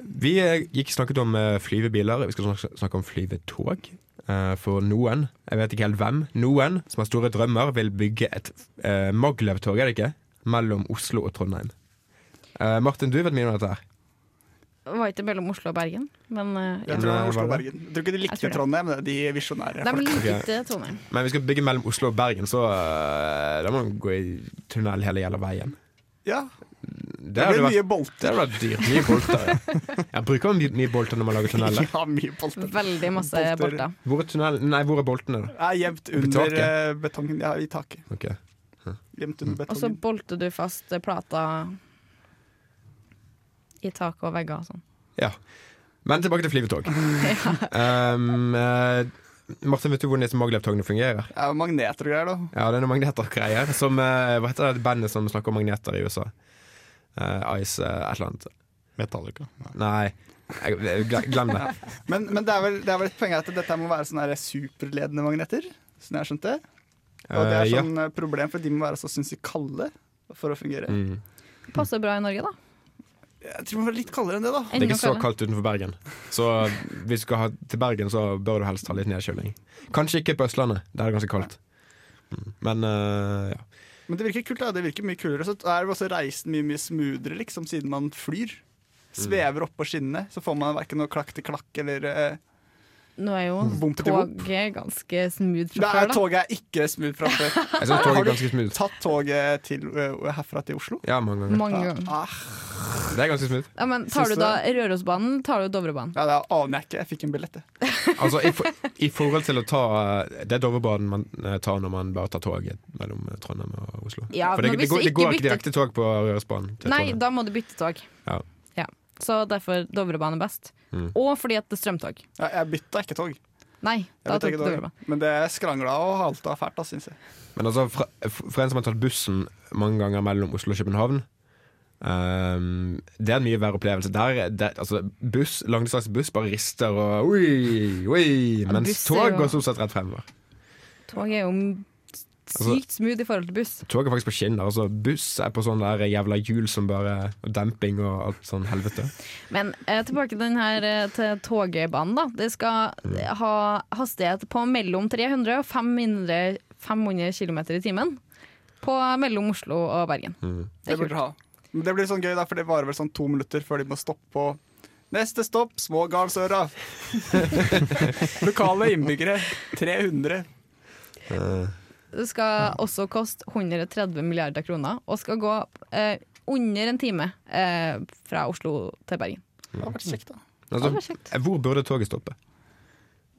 Vi eh, gikk snakket om eh, flyvebiler, vi skal snak- snakke om flyvetog. Eh, For noen, jeg vet ikke helt hvem, noen som har store drømmer, vil bygge et eh, Maglev-tog, er det ikke? Mellom Oslo og Trondheim. Eh, Martin, du vet mye om dette her.
Var ikke det mellom Oslo og Bergen, men eh, ja.
Jeg tror det
Nei,
var Oslo og
var
Bergen. Jeg tror ikke
Jeg
de
tror
likte
det.
Trondheim, men de visjonære.
De
folk.
liker
Ok.
ikke Trondheim.
Men vi skal bygge mellom Oslo og Bergen, så eh, da må man gå i tunnel hele jævla veien.
Ja,
Det
det
hadde
ble
vært
mye bolter.
Det hadde vært dyrt. Mye bolter. ja. Jeg bruker mye, mye bolter når man lager tunneler.
Ja, mye bolter.
Veldig masse
Bolter.
bolter.
Hvor er, tunnel, nei, hvor er boltene, da?
Jeg er gjemt
På
under
taket? Mm.
eh, betongen. Ja, i taket.
Ok.
Gjemt under
Og så
betongen.
bolter du fast eh, plata i tak og vegger og sånn.
Ja. Men tilbake til flyvetog. Um, eh, Martin, vet du hvordan disse maglev-togene fungerer?
Ja, magneter og greier, da.
Ja, det er noen magneter og greier. Som, eh, hva heter det bandet som snakker om magneter i USA? Eh, Ice eh, et eller annet.
Metallica. Ja.
Nei, jeg, jeg- gle- glem det.
Men, men det, er vel, det er vel et poeng at dette må være sånne her superledende magneter, som jeg skjønte. Og det
Eh,
er
ja.
sånn eh, problem, for de må være så sinnssykt kalde for å fungere.
Mm.
Passer bra i Norge, da.
Jeg tror det må være litt kaldere enn det, da.
Det er ikke så
kaldere.
kaldt utenfor Bergen. Så hvis du skal ha til Bergen, så bør du helst ha litt nedkjøling. Kanskje ikke på Østlandet, der er det ganske kaldt. Mm. Men eh, ja.
Men det virker kult, da. Det virker mye kulere. Så er jo også reisen mye, mye smoothere, liksom, siden man flyr.
Mm.
Svever oppå skinnene, så får man verken noe klakk til klakk eller eh,
Nå er jo
Bom Mm. til bom.
toget ganske smooth fra
Nei,
før, da.
toget er ikke smooth fra før.
Jeg syns toget er ganske smooth.
Tatt toget til, eh, herfra til Oslo.
Ja, mange ganger.
Mange ganger.
Ah,
Det er ganske smooth.
Ja, men tar
Syns
du
du
da Rørosbanen, eller tar du Dovrebanen?
ja, det aner jeg ikke. Jeg fikk en billett, jeg.
Altså, i, for, I forhold til å ta eh, Det er Dovrebanen man eh, tar når man bare tar toget mellom eh, Trondheim og Oslo.
Ja,
For det,
men
det,
hvis
går,
du
det går
ikke
ikke direkte tog på Rørosbanen. til
Nei,
Trondheim.
da må du bytte tog.
Ja.
Så derfor Dovrebanen er best.
Mm.
Og fordi at det er strømtog.
Ja, jeg bytta ikke tog.
Nei,
Jeg
da
bytta
tok du
ikke tog.
Dovrebanen.
Men det skrangla og halta fælt, da, syns jeg.
Men altså, fra, for en som har tatt bussen mange ganger mellom Oslo og København ehm, Det er en mye verre opplevelse. Der, er det, altså, buss, langdistansebuss bare rister og oi, oi, mens
buss er
tog
jo-
går stort sett rett fremover.
Tog er jo m-
Altså-
sykt smooth i forhold til buss.
Tog er faktisk på skinner. Altså, buss er på sånne der jævla hjul som bare Og demping og alt sånn helvete.
Men eh, tilbake til den her eh, til togbanen, da. Det skal eh, ha hastighet på mellom 300 og 500, 500 km i timen. På mellom Oslo og Bergen.
Mm.
Det burde du ha. Men det blir sånn gøy, da, for det varer vel sånn to minutter før de må stoppe på Neste stopp, Smågardsøra. Lokale innbyggere. 300.
Det
Mm.
skal også koste 130 milliarder kroner, og skal gå eh, under en time eh, fra Oslo til Bergen.
Det hadde vært kjekt, da.
Det var
Altså,
kjekt.
hvor burde toget stoppe?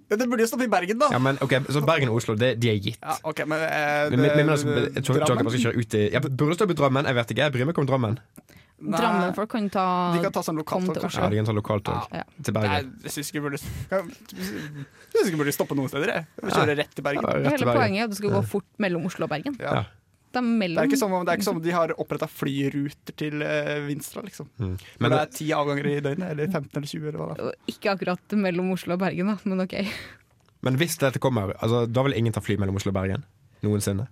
Ja, det burde jo stoppe i Bergen, da.
Ja, men ok, Så Bergen og Oslo, det, de er gitt.
Ja, ok, men eh,
Men, altså, men, men,
det-
altså, tog, toget bare skal kjøre ut i ja, Burde det stoppe i Drammen? Jeg vet ikke. Jeg bryr meg ikke om Drammen.
Drammen folk kan ta
De kan ta sånn
Kom
lokaltog,
til
kanskje.
Ja, de kan ta lokaltog
Ja.
til
Nei,
Bergen.
jeg syns ikke vi burde Jeg synes ikke vi burde stoppe noen steder. Jeg. Vi kjører rett
Ja,
til Bergen.
rett til
Hele
Bergen.
poenget er at du skal gå fort mellom Oslo og Bergen.
Ja.
Det er mellom
Det er ikke som om, det er ikke som om de har oppretta flyruter til eh, Vinstra, liksom. Men
Mm. Men
det er ti avganger i døgnet, eller 15 eller 20, eller hva det er.
Ikke akkurat mellom Oslo og Bergen, da, men OK.
Men hvis dette kommer, altså, da vil ingen ta fly mellom Oslo og Bergen? Noensinne?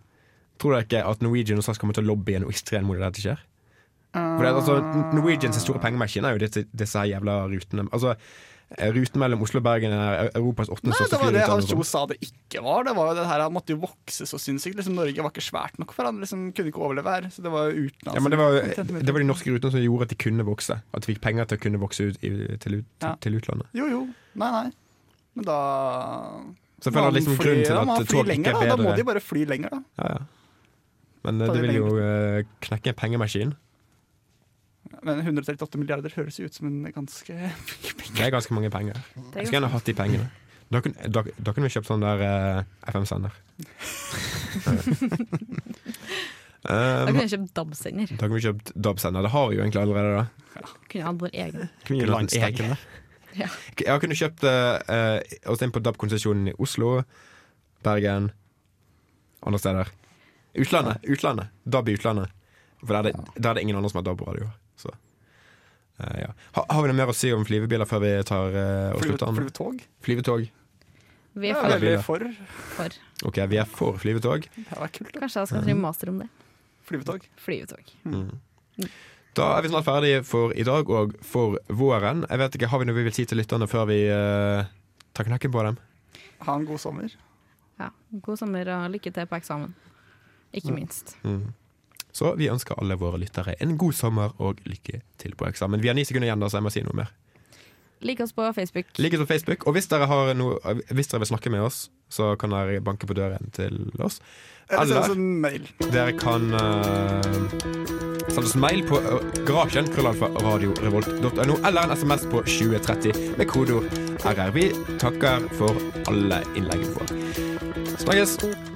Tror dere ikke at Norwegian og SAS kommer til å lobbye noe ekstremt mot at dette skjer? For det, er altså, Norwegians store pengemaskin er jo disse, disse her jævla rutene. Altså, eh, Ruten mellom Oslo og Bergen er Eu- Europas åttende
Nei,
største
det var det Hans
flyrute.
Kjos sa det ikke var. Det var jo det her, Han måtte jo vokse så sinnssykt. Liksom, Norge var ikke svært nok for han liksom, kunne ikke overleve her. Så det var jo altså. utenlands.
Ja, men det, var, det var de norske rutene som gjorde at de kunne vokse. At de fikk penger til å kunne vokse ut, i, til, ut,
Ja.
til utlandet.
Jo, jo. Nei, nei. Men da
Så jeg føler liksom
fly-
grunnen til
da må han
at
fly
tog ikke
lenger,
er
da. Da må de
bedre
bare fly lenger, da.
ja, ja. Men eh,
Ta
det
de
vil jo
pengene.
eh, knekke en pengemaskin.
Men 138 milliarder høres jo ut som en ganske
Det er ganske mange penger. Jeg skulle gjerne hatt de pengene. Da kunne, da, da kunne vi kjøpt sånn der eh, FM-sender.
Da
um,
kunne jeg kjøpt DAB-sender.
da kunne vi kjøpt DAB-sender. Det har vi jo egentlig allerede, da.
Kunne jeg hatt vår egen.
Kunne vi gjort en egen?
Landsdekkende.
Jeg har kunnet kjøpt eh, eh, oss inn på DAB-konsesjonen i Oslo, Bergen, andre steder. Utlandet! utlandet DAB i utlandet. For der er det, der er det ingen andre som har DAB-radioer. Så, eh, ja. har, har vi noe mer å si om flyvebiler før vi tar eh, og
Fly-
slutter? an?
Flyvetog?
Flyvetog.
Vi er
Det er
for.
veldig-
veldig
Flyve.
for.
for.
Ok, vi er for flyvetog.
Det hadde vært kult. da.
Kanskje jeg skal skrive master om det.
Flyvetog.
Flyvetog.
Da er vi snart ferdige for i dag og for våren. Jeg vet ikke, Har vi noe vi vil si til lytterne før vi eh, tar knekken på dem?
Ha en god sommer.
Ja. God sommer og lykke til på eksamen. Ikke minst.
Så vi ønsker alle våre lyttere en god sommer og lykke til på eksamen. Vi har ni sekunder igjen, da, så jeg må si noe mer.
Lik oss på Facebook.
Lik oss på Facebook, og hvis dere, har noe, eh, hvis dere vil snakke med oss, så kan dere banke på døren til oss.
Eller
Eller-
send oss en mail.
Dere kan eh, sende oss en mail på eh, garasjen krøllalfa radiorevolt.no eller en SMS på 2030 med kodeord RR. Vi takker for alle innleggene våre. Snakkes!